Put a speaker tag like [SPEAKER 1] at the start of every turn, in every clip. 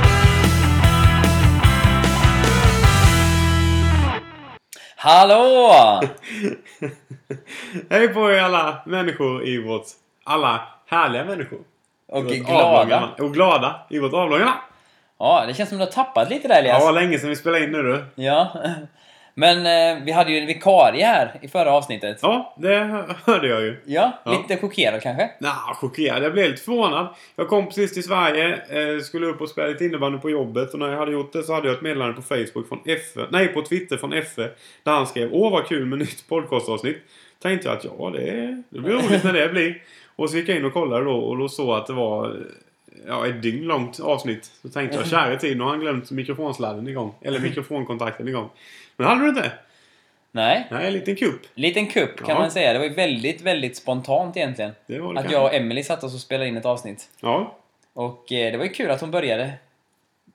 [SPEAKER 1] Hallå!
[SPEAKER 2] Hej på er alla människor i vårt... Alla härliga människor. I
[SPEAKER 1] Och
[SPEAKER 2] vårt
[SPEAKER 1] glada.
[SPEAKER 2] avlånga land. Och glada i vårt avlånga land.
[SPEAKER 1] Ja, det känns som du har tappat lite där
[SPEAKER 2] Ja,
[SPEAKER 1] Elias.
[SPEAKER 2] vad länge sedan vi spelade in nu du.
[SPEAKER 1] Ja. Men eh, vi hade ju en vikarie här i förra avsnittet.
[SPEAKER 2] Ja, det hörde jag ju.
[SPEAKER 1] Ja,
[SPEAKER 2] Ja.
[SPEAKER 1] lite chockerad kanske.
[SPEAKER 2] Nah, chockerad. Jag blev lite förvånad. Jag kom precis till Sverige, eh, skulle upp och spela lite innebandy på jobbet och när jag hade gjort det så hade jag ett meddelande på Facebook från Effe, nej på Twitter från Effe där han skrev Åh vad kul med nytt podcastavsnitt. Tänkte jag att ja, det, det blir roligt när det blir. Och så gick jag in och kollade då och då såg att det var eh, ja, ett dygn långt avsnitt. Så tänkte jag käre tid, nu har han glömt mikrofonsladden igång. Eller mikrofonkontakten igång. Men hade du inte?
[SPEAKER 1] Nej.
[SPEAKER 2] Nej, en liten kupp.
[SPEAKER 1] Liten kupp kan
[SPEAKER 2] Ja.
[SPEAKER 1] man säga. Det var ju väldigt, väldigt spontant egentligen.
[SPEAKER 2] Det var det
[SPEAKER 1] Att
[SPEAKER 2] kanske.
[SPEAKER 1] jag och Emily satt oss och spelade in ett avsnitt.
[SPEAKER 2] Ja,
[SPEAKER 1] Och eh, det var ju kul att hon började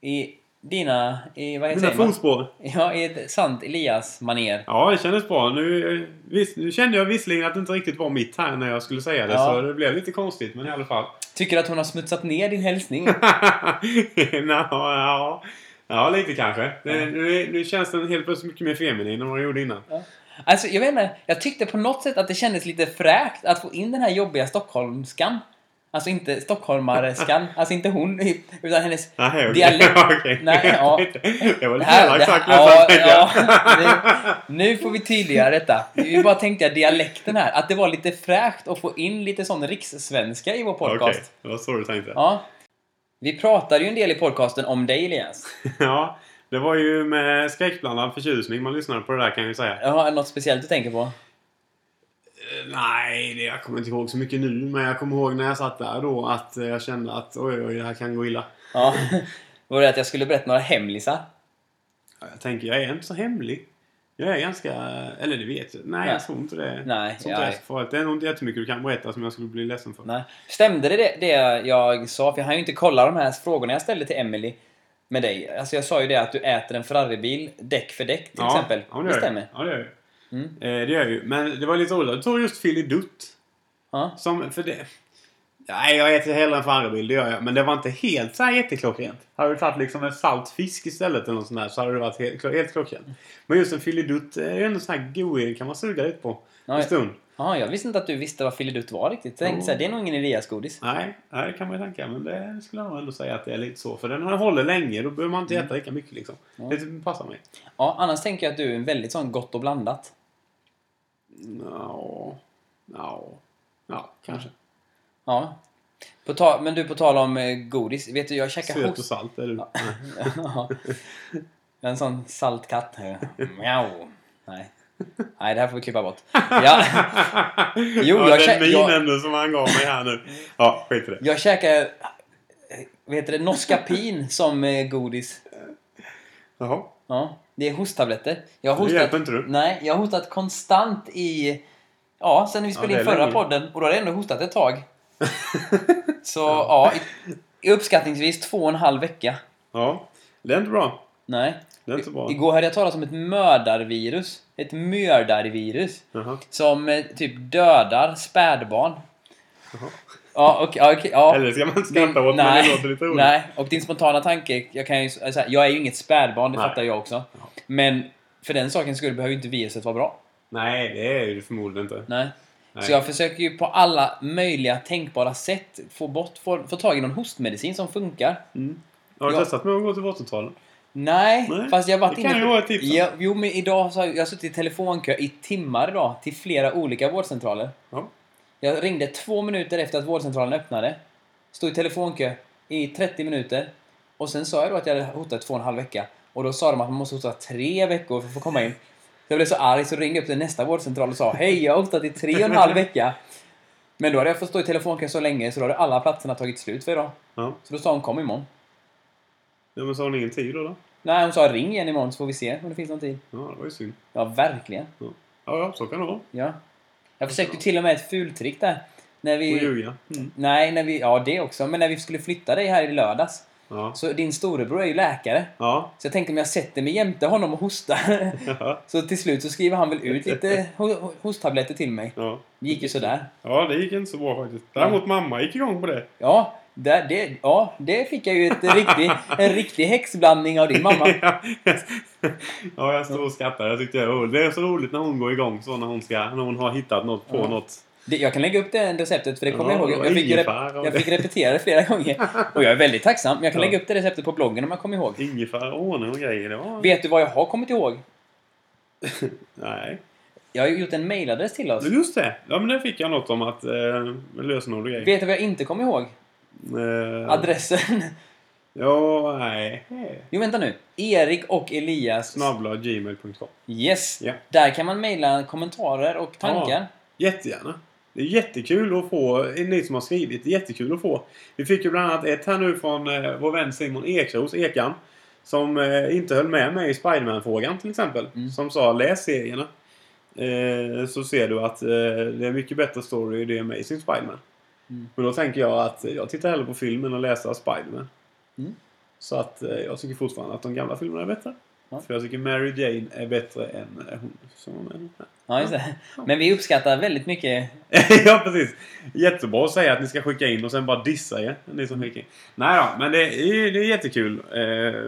[SPEAKER 1] i dina... I, vad
[SPEAKER 2] mina
[SPEAKER 1] heter man?
[SPEAKER 2] fotspår.
[SPEAKER 1] Ja, i ett sant Elias-manér.
[SPEAKER 2] Ja, det kändes bra. Nu, eh, visst, nu kände jag visserligen att det inte riktigt var mitt här när jag skulle säga det,
[SPEAKER 1] Ja.
[SPEAKER 2] så det blev lite konstigt, men i alla fall.
[SPEAKER 1] Tycker du att hon har smutsat ner din hälsning?
[SPEAKER 2] Nå, ja, ja, lite kanske. Det, nu, nu känns den helt plötsligt mycket mer feminin än vad den gjorde innan.
[SPEAKER 1] Alltså, jag vet inte. Jag tyckte på något sätt att det kändes lite fräckt att få in den här jobbiga stockholmskan. Alltså inte stockholmareskan. alltså inte hon, utan hennes
[SPEAKER 2] Nej, okej.
[SPEAKER 1] dialekt.
[SPEAKER 2] Okej.
[SPEAKER 1] Nej, ja.
[SPEAKER 2] Det var
[SPEAKER 1] Det
[SPEAKER 2] lite
[SPEAKER 1] här, det
[SPEAKER 2] elakt
[SPEAKER 1] här,
[SPEAKER 2] sagt
[SPEAKER 1] ja,
[SPEAKER 2] nästan, tänkte jag.
[SPEAKER 1] ja, nu, nu får vi tydliggöra detta. Vi bara tänkte jag dialekten här. Att det var lite fräckt att få in lite sån rikssvenska i vår
[SPEAKER 2] Okej,
[SPEAKER 1] podcast.
[SPEAKER 2] det var så du tänkte. Ja.
[SPEAKER 1] Ja. Vi pratade ju en del i podcasten om dig Elias.
[SPEAKER 2] det var ju med skräckblandad förtjusning man lyssnade på det där kan jag ju säga.
[SPEAKER 1] Har något speciellt du tänker på?
[SPEAKER 2] Eh, Nej, det, jag kommer inte ihåg så mycket nu, men jag kommer ihåg när jag satt där då att eh, jag kände att oj, oj, det här kan gå illa.
[SPEAKER 1] Ja. Var det att jag skulle berätta några hemlisar?
[SPEAKER 2] Ja, Jag tänker, jag är inte så hemlig. Jag är ganska... Eller det vet jag. Nej,
[SPEAKER 1] Nej.
[SPEAKER 2] jag tror inte det.
[SPEAKER 1] Nej,
[SPEAKER 2] jag tror inte
[SPEAKER 1] jag-
[SPEAKER 2] det är så farligt. Det är nog inte jättemycket du kan berätta som jag skulle bli ledsen för.
[SPEAKER 1] Nej. Stämde det, det det jag sa? För jag hann ju inte kolla de här frågorna jag ställde till Emily med dig. Alltså jag sa ju det att du äter en Ferraribil däck för däck till
[SPEAKER 2] Ja,
[SPEAKER 1] exempel.
[SPEAKER 2] Ja, det,
[SPEAKER 1] det
[SPEAKER 2] gör jag.
[SPEAKER 1] stämmer.
[SPEAKER 2] Ja, det gör jag.
[SPEAKER 1] Mm.
[SPEAKER 2] Eh, det gör jag ju. Men det var lite roligt. Du tog just Filidutt.
[SPEAKER 1] Ja.
[SPEAKER 2] Som... För det... Nej, jag äter hellre en Ferraribil, det gör jag. Men det var inte helt så här jätteklockrent. Hade du tagit liksom en salt fisk istället eller något sånt där så hade det varit helt, helt klockrent. Men just en Filidutt är ju ändå sån här god, kan man suga lite på.
[SPEAKER 1] Ja,
[SPEAKER 2] en
[SPEAKER 1] jag,
[SPEAKER 2] stund.
[SPEAKER 1] ja, jag visste inte att du visste vad filidutt var riktigt. Jag tänkte
[SPEAKER 2] Jo.
[SPEAKER 1] såhär, det är nog ingen Elias-godis.
[SPEAKER 2] Nej, nej, det kan man ju tänka. Men det skulle jag nog ändå säga att det är lite så. För den här håller länge, då behöver man inte
[SPEAKER 1] Mm.
[SPEAKER 2] äta lika mycket liksom. Det passar mig.
[SPEAKER 1] Ja, annars tänker jag att du är en väldigt sån gott och blandat.
[SPEAKER 2] Ja, ja, ja, kanske.
[SPEAKER 1] Ja. På ta- men du, på tal om eh, godis. Vet du, jag käkar
[SPEAKER 2] Söt och
[SPEAKER 1] host...
[SPEAKER 2] salt är du. Nej.
[SPEAKER 1] Ja. Jag är en sån saltkatt. Mjau. Nej. Nej, det här får vi klippa bort. Ja. Jo,
[SPEAKER 2] ja,
[SPEAKER 1] jag
[SPEAKER 2] den
[SPEAKER 1] kä- jag-
[SPEAKER 2] minen nu som han gav mig här nu. Ja, skit i det.
[SPEAKER 1] Jag käkar... Vad heter det? Norska pin som eh, godis.
[SPEAKER 2] Jaha.
[SPEAKER 1] Ja, det är hosttabletter. Jag har
[SPEAKER 2] Det
[SPEAKER 1] hostat,
[SPEAKER 2] hjälper inte du.
[SPEAKER 1] Nej, jag har hostat konstant i... Ja, sen vi spelade
[SPEAKER 2] det
[SPEAKER 1] in
[SPEAKER 2] är
[SPEAKER 1] förra
[SPEAKER 2] länge.
[SPEAKER 1] podden. Och då har jag ändå hostat ett tag. Så ja, i, i uppskattningsvis två och en halv vecka.
[SPEAKER 2] Ja, det är inte bra.
[SPEAKER 1] Nej.
[SPEAKER 2] Det är inte bra.
[SPEAKER 1] Igår hade jag talat om ett mördarvirus. Ett mördarvirus.
[SPEAKER 2] Jaha.
[SPEAKER 1] Som eh, typ dödar spädbarn. Ja, okej. ja, okej, ja.
[SPEAKER 2] Eller ska man skratta åt men det låter lite roligt.
[SPEAKER 1] nej, och din spontana tanke, jag, kan ju, alltså, jag är ju inget spädbarn, det
[SPEAKER 2] Nej.
[SPEAKER 1] fattar jag också. Men för den sakens skull behöver ju inte viruset vara bra.
[SPEAKER 2] Nej, det är ju det förmodligen inte.
[SPEAKER 1] Nej.
[SPEAKER 2] Nej.
[SPEAKER 1] Så jag försöker ju på alla möjliga tänkbara sätt få, bort, få, få tag i någon hostmedicin som funkar.
[SPEAKER 2] Har du
[SPEAKER 1] Ja.
[SPEAKER 2] testat med att gå till vårdcentralen?
[SPEAKER 1] Nej,
[SPEAKER 2] Nej,
[SPEAKER 1] fast jag har varit
[SPEAKER 2] det kan ju vara ett tips.
[SPEAKER 1] Ja, jo, men idag så har jag, jag har suttit i telefonkö i timmar idag till flera olika vårdcentraler.
[SPEAKER 2] Ja.
[SPEAKER 1] Jag ringde två minuter efter att vårdcentralen öppnade. Stod i telefonkö i 30 minuter. Och sen sa jag då att jag hade hotat två och en halv vecka. Och då sa de att man måste hota tre veckor för att få komma in. Så jag blev så arg så ringde jag upp till nästa vårdcentral och sa Hej, jag har hotat i tre och en halv vecka. Men då hade jag fått stå i telefonkö så länge så då hade alla platserna tagit slut för idag.
[SPEAKER 2] Ja.
[SPEAKER 1] Så då sa hon kom imorgon.
[SPEAKER 2] ja men sa hon ingen tid då? då?
[SPEAKER 1] Nej, hon sa ring igen imorgon så får vi se om det finns någon tid.
[SPEAKER 2] Ja, det var ju synd.
[SPEAKER 1] Ja, verkligen.
[SPEAKER 2] Ja, ja, ja, så kan det vara.
[SPEAKER 1] Ja. Jag försökte till och med ett fultrick där. När
[SPEAKER 2] Och
[SPEAKER 1] vi...
[SPEAKER 2] ljuga. Mm.
[SPEAKER 1] Nej, när vi... Ja, det också. Men när vi skulle flytta dig här i lördags.
[SPEAKER 2] Ja.
[SPEAKER 1] Så din storebror är ju läkare.
[SPEAKER 2] Ja.
[SPEAKER 1] Så jag tänkte om jag sätter mig jämte honom och hostar.
[SPEAKER 2] Ja.
[SPEAKER 1] så till slut så skriver han väl ut lite ho- ho- hosttabletter till mig.
[SPEAKER 2] Ja.
[SPEAKER 1] Det gick ju sådär.
[SPEAKER 2] ja, det gick inte så bra faktiskt. Däremot mamma gick igång på det.
[SPEAKER 1] Ja, Där, det, ja, det fick jag ju ett riktig, en riktig häxblandning av din mamma.
[SPEAKER 2] ja, ja, jag stod och skrattade. Jag tyckte det var roligt. Det är så roligt när hon går igång så när hon, ska, när hon har hittat något på
[SPEAKER 1] Ja.
[SPEAKER 2] något.
[SPEAKER 1] Det, jag kan lägga upp det receptet för det kommer
[SPEAKER 2] Ja,
[SPEAKER 1] jag
[SPEAKER 2] det
[SPEAKER 1] ihåg.
[SPEAKER 2] var
[SPEAKER 1] Jag fick, ju
[SPEAKER 2] ingefära
[SPEAKER 1] rep-
[SPEAKER 2] och
[SPEAKER 1] jag
[SPEAKER 2] det.
[SPEAKER 1] fick repetera det flera gånger. Och jag är väldigt tacksam. Men jag kan
[SPEAKER 2] Ja.
[SPEAKER 1] lägga upp det receptet på bloggen om jag kommer ihåg.
[SPEAKER 2] Ingefära, honung och grejer. Det var...
[SPEAKER 1] Vet du vad jag har kommit ihåg?
[SPEAKER 2] Nej.
[SPEAKER 1] Jag har ju gjort en mailadress till oss.
[SPEAKER 2] Just det! Ja, men där fick jag något om att eh, lösenord och grejer.
[SPEAKER 1] Vet du vad jag inte kommer ihåg?
[SPEAKER 2] Eh,
[SPEAKER 1] Adressen.
[SPEAKER 2] Ja, nej.
[SPEAKER 1] Jo, vänta nu. Erik och Elias.
[SPEAKER 2] Snabbla gmail.com.
[SPEAKER 1] Yes.
[SPEAKER 2] Ja.
[SPEAKER 1] Där kan man mejla kommentarer och tankar.
[SPEAKER 2] Jättegärna. Det är jättekul att få, ni som har skrivit, det är jättekul att få. Vi fick ju bland annat ett här nu från eh, vår vän Simon Ekros, Ekan. Som eh, inte höll med mig i Spiderman-frågan till exempel.
[SPEAKER 1] Mm.
[SPEAKER 2] Som sa läs serierna. Eh, så ser du att eh, det är mycket bättre story i The Amazing Spiderman.
[SPEAKER 1] Mm.
[SPEAKER 2] Men då tänker jag att eh, jag tittar hellre på filmen och läser Spiderman.
[SPEAKER 1] Mm.
[SPEAKER 2] Så att eh, jag tycker fortfarande att de gamla filmerna är bättre.
[SPEAKER 1] Ja.
[SPEAKER 2] För jag tycker Mary Jane är bättre än eh, hon som var med.
[SPEAKER 1] Ja, just det. Men vi uppskattar väldigt mycket.
[SPEAKER 2] ja, precis. Jättebra att säga att ni ska skicka in och sen bara dissa er. Ni som skickar in. Nej då, men det är, det är jättekul. Eh,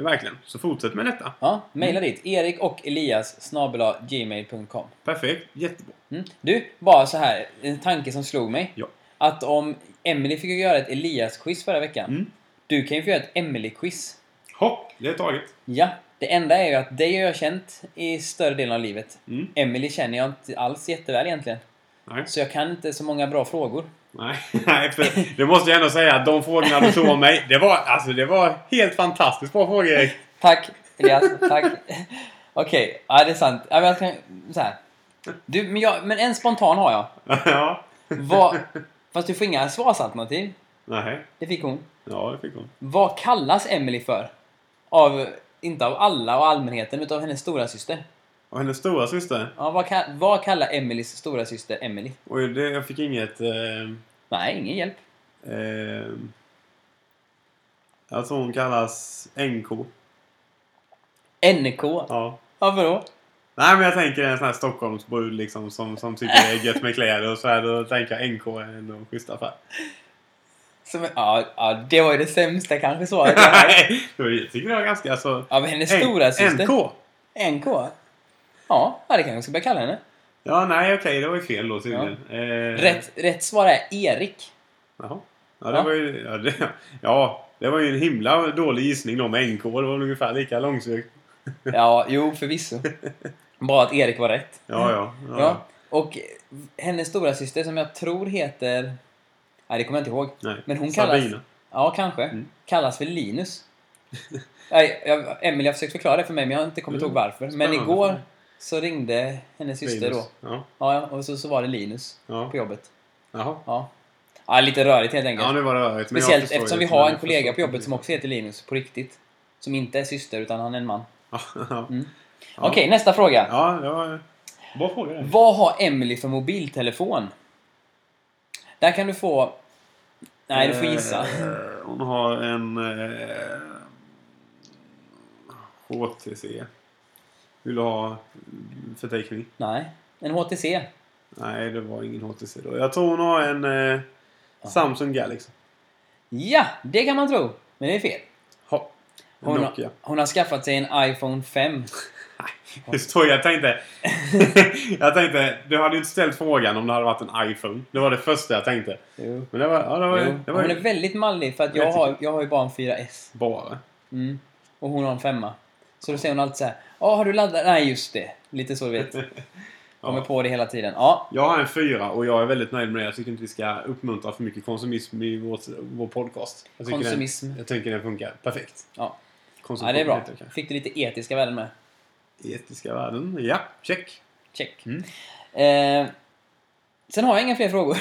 [SPEAKER 2] verkligen. Så fortsätt med detta.
[SPEAKER 1] Ja, mejla
[SPEAKER 2] Mm.
[SPEAKER 1] dit. Erik och Elias snabel-a gmail.com.
[SPEAKER 2] Perfekt. Jättebra.
[SPEAKER 1] Mm. Du, bara så här. En tanke som slog mig.
[SPEAKER 2] Ja.
[SPEAKER 1] Att om Emily fick ju göra ett Elias-quiz förra veckan.
[SPEAKER 2] Mm.
[SPEAKER 1] Du kan ju få göra ett Emily-quiz.
[SPEAKER 2] Hopp, det är taget.
[SPEAKER 1] Ja, det enda är ju att dig har jag känt i större delen av livet.
[SPEAKER 2] Mm.
[SPEAKER 1] Emily känner jag inte alls jätteväl egentligen.
[SPEAKER 2] Nej.
[SPEAKER 1] Så jag kan inte så många bra frågor.
[SPEAKER 2] Nej, nej, för det måste jag ändå säga att de frågorna du tog om mig, det var, alltså, det var helt fantastiskt bra frågor Erik.
[SPEAKER 1] Tack Elias, tack. Okej, ja det är sant. Ja, men jag kan, så här. Du, men, jag, men en spontan har jag.
[SPEAKER 2] ja.
[SPEAKER 1] Vad, fast du får inga svarsalternativ.
[SPEAKER 2] Nej.
[SPEAKER 1] Det fick hon.
[SPEAKER 2] Ja, det fick hon.
[SPEAKER 1] Vad kallas Emily för? Av, inte av alla och allmänheten, utan av hennes stora syster.
[SPEAKER 2] Och hennes stora syster.
[SPEAKER 1] Ja, vad, ka- vad kallar Emilys stora syster Emily?
[SPEAKER 2] Och det, jag fick inget... Eh,
[SPEAKER 1] Nej, ingen hjälp.
[SPEAKER 2] eh, alltså hon kallas NK.
[SPEAKER 1] NK.
[SPEAKER 2] Ja.
[SPEAKER 1] Varför då?
[SPEAKER 2] Nej men jag tänker en sån här Stockholmsbrud liksom som, som tycker det är gött med kläder och så här. Då tänker jag NK är ändå en schysst affär.
[SPEAKER 1] Som, ja, ja, det var ju det sämsta kanske svaret jag hört.
[SPEAKER 2] Nej, jag tycker det var ganska alltså, så...
[SPEAKER 1] Av hennes stora syster.
[SPEAKER 2] NK?
[SPEAKER 1] NK? Ja, ja, det kanske jag ska börja kalla henne.
[SPEAKER 2] Ja, nej okej det var ju fel då tydligen. Eh,
[SPEAKER 1] Rätt, rätt svar är Erik.
[SPEAKER 2] Jaha. Ja, det
[SPEAKER 1] Ja.
[SPEAKER 2] Var ju, ja, det, ja, det var ju en himla dålig gissning då med NK. Det var väl ungefär lika långsökt.
[SPEAKER 1] Ja, jo, förvisso. Bara att Erik var rätt.
[SPEAKER 2] Ja, ja. ja.
[SPEAKER 1] Ja. Och hennes stora syster som jag tror heter... Nej, det kommer jag inte ihåg.
[SPEAKER 2] Nej.
[SPEAKER 1] Men hon kallas...
[SPEAKER 2] Sabina.
[SPEAKER 1] Ja, kanske.
[SPEAKER 2] Mm.
[SPEAKER 1] Kallas för Linus. Nej, jag, Emelie har försökt förklara det för mig, men jag har inte kommit
[SPEAKER 2] Mm.
[SPEAKER 1] ihåg varför. Men
[SPEAKER 2] Spännande.
[SPEAKER 1] igår så ringde hennes syster då.
[SPEAKER 2] Linus. Ja,
[SPEAKER 1] Ja, och så, så var det Linus
[SPEAKER 2] ja.
[SPEAKER 1] på jobbet.
[SPEAKER 2] Jaha.
[SPEAKER 1] Ja. ja, lite rörigt helt enkelt.
[SPEAKER 2] Ja, nu var det rörigt. men jag
[SPEAKER 1] Speciellt
[SPEAKER 2] förstår ju
[SPEAKER 1] eftersom vi
[SPEAKER 2] lite,
[SPEAKER 1] har
[SPEAKER 2] men
[SPEAKER 1] en
[SPEAKER 2] jag
[SPEAKER 1] kollega
[SPEAKER 2] förstår
[SPEAKER 1] på jobbet
[SPEAKER 2] precis.
[SPEAKER 1] som också heter Linus, på riktigt. Som inte är syster, utan han är en man.
[SPEAKER 2] Ja, ja.
[SPEAKER 1] Mm.
[SPEAKER 2] Ja.
[SPEAKER 1] Okej, nästa fråga.
[SPEAKER 2] Ja, det var... Bra fråga det.
[SPEAKER 1] Vad har Emily för mobiltelefon? Där kan du få... Nej, du får gissa.
[SPEAKER 2] Eh, Hon har en... Eh, HTC. Vill du ha förteckning?
[SPEAKER 1] Nej. En HTC.
[SPEAKER 2] Nej, det var ingen HTC då. Jag tror hon har en eh, Samsung Galaxy.
[SPEAKER 1] Ja, det kan man tro. Men det är fel.
[SPEAKER 2] Ha. En
[SPEAKER 1] Hon
[SPEAKER 2] Nokia.
[SPEAKER 1] har, hon har skaffat sig en iPhone 5.
[SPEAKER 2] Just då, jag tänkte... jag tänkte, du hade ju inte ställt frågan om det hade varit en iPhone. Det var det första jag tänkte.
[SPEAKER 1] Jo.
[SPEAKER 2] Men det var, ja, det var,
[SPEAKER 1] Jo.
[SPEAKER 2] det var
[SPEAKER 1] Hon
[SPEAKER 2] ju
[SPEAKER 1] är väldigt mallig för att jag
[SPEAKER 2] Jättekul.
[SPEAKER 1] har, jag har ju bara en 4S.
[SPEAKER 2] bara.
[SPEAKER 1] Mm. Och hon har en 5 Så då säger hon alltid så här. Ja, har du laddat? Nej, just det. Lite så du vet. Kommer på det hela tiden. Ja.
[SPEAKER 2] Jag har en fyra och jag är väldigt nöjd med det. Jag tycker inte vi ska uppmuntra för mycket konsumism i vårt, vår podcast. Jag tycker
[SPEAKER 1] Konsumism.
[SPEAKER 2] Den, jag tycker den funkar perfekt.
[SPEAKER 1] Ja.
[SPEAKER 2] Konsumtion
[SPEAKER 1] ja, det är bra.
[SPEAKER 2] heter det kanske.
[SPEAKER 1] Fick du lite etiska värden med.
[SPEAKER 2] Etiska värden. Ja, check.
[SPEAKER 1] Check.
[SPEAKER 2] Mm.
[SPEAKER 1] Eh, sen har jag inga fler frågor.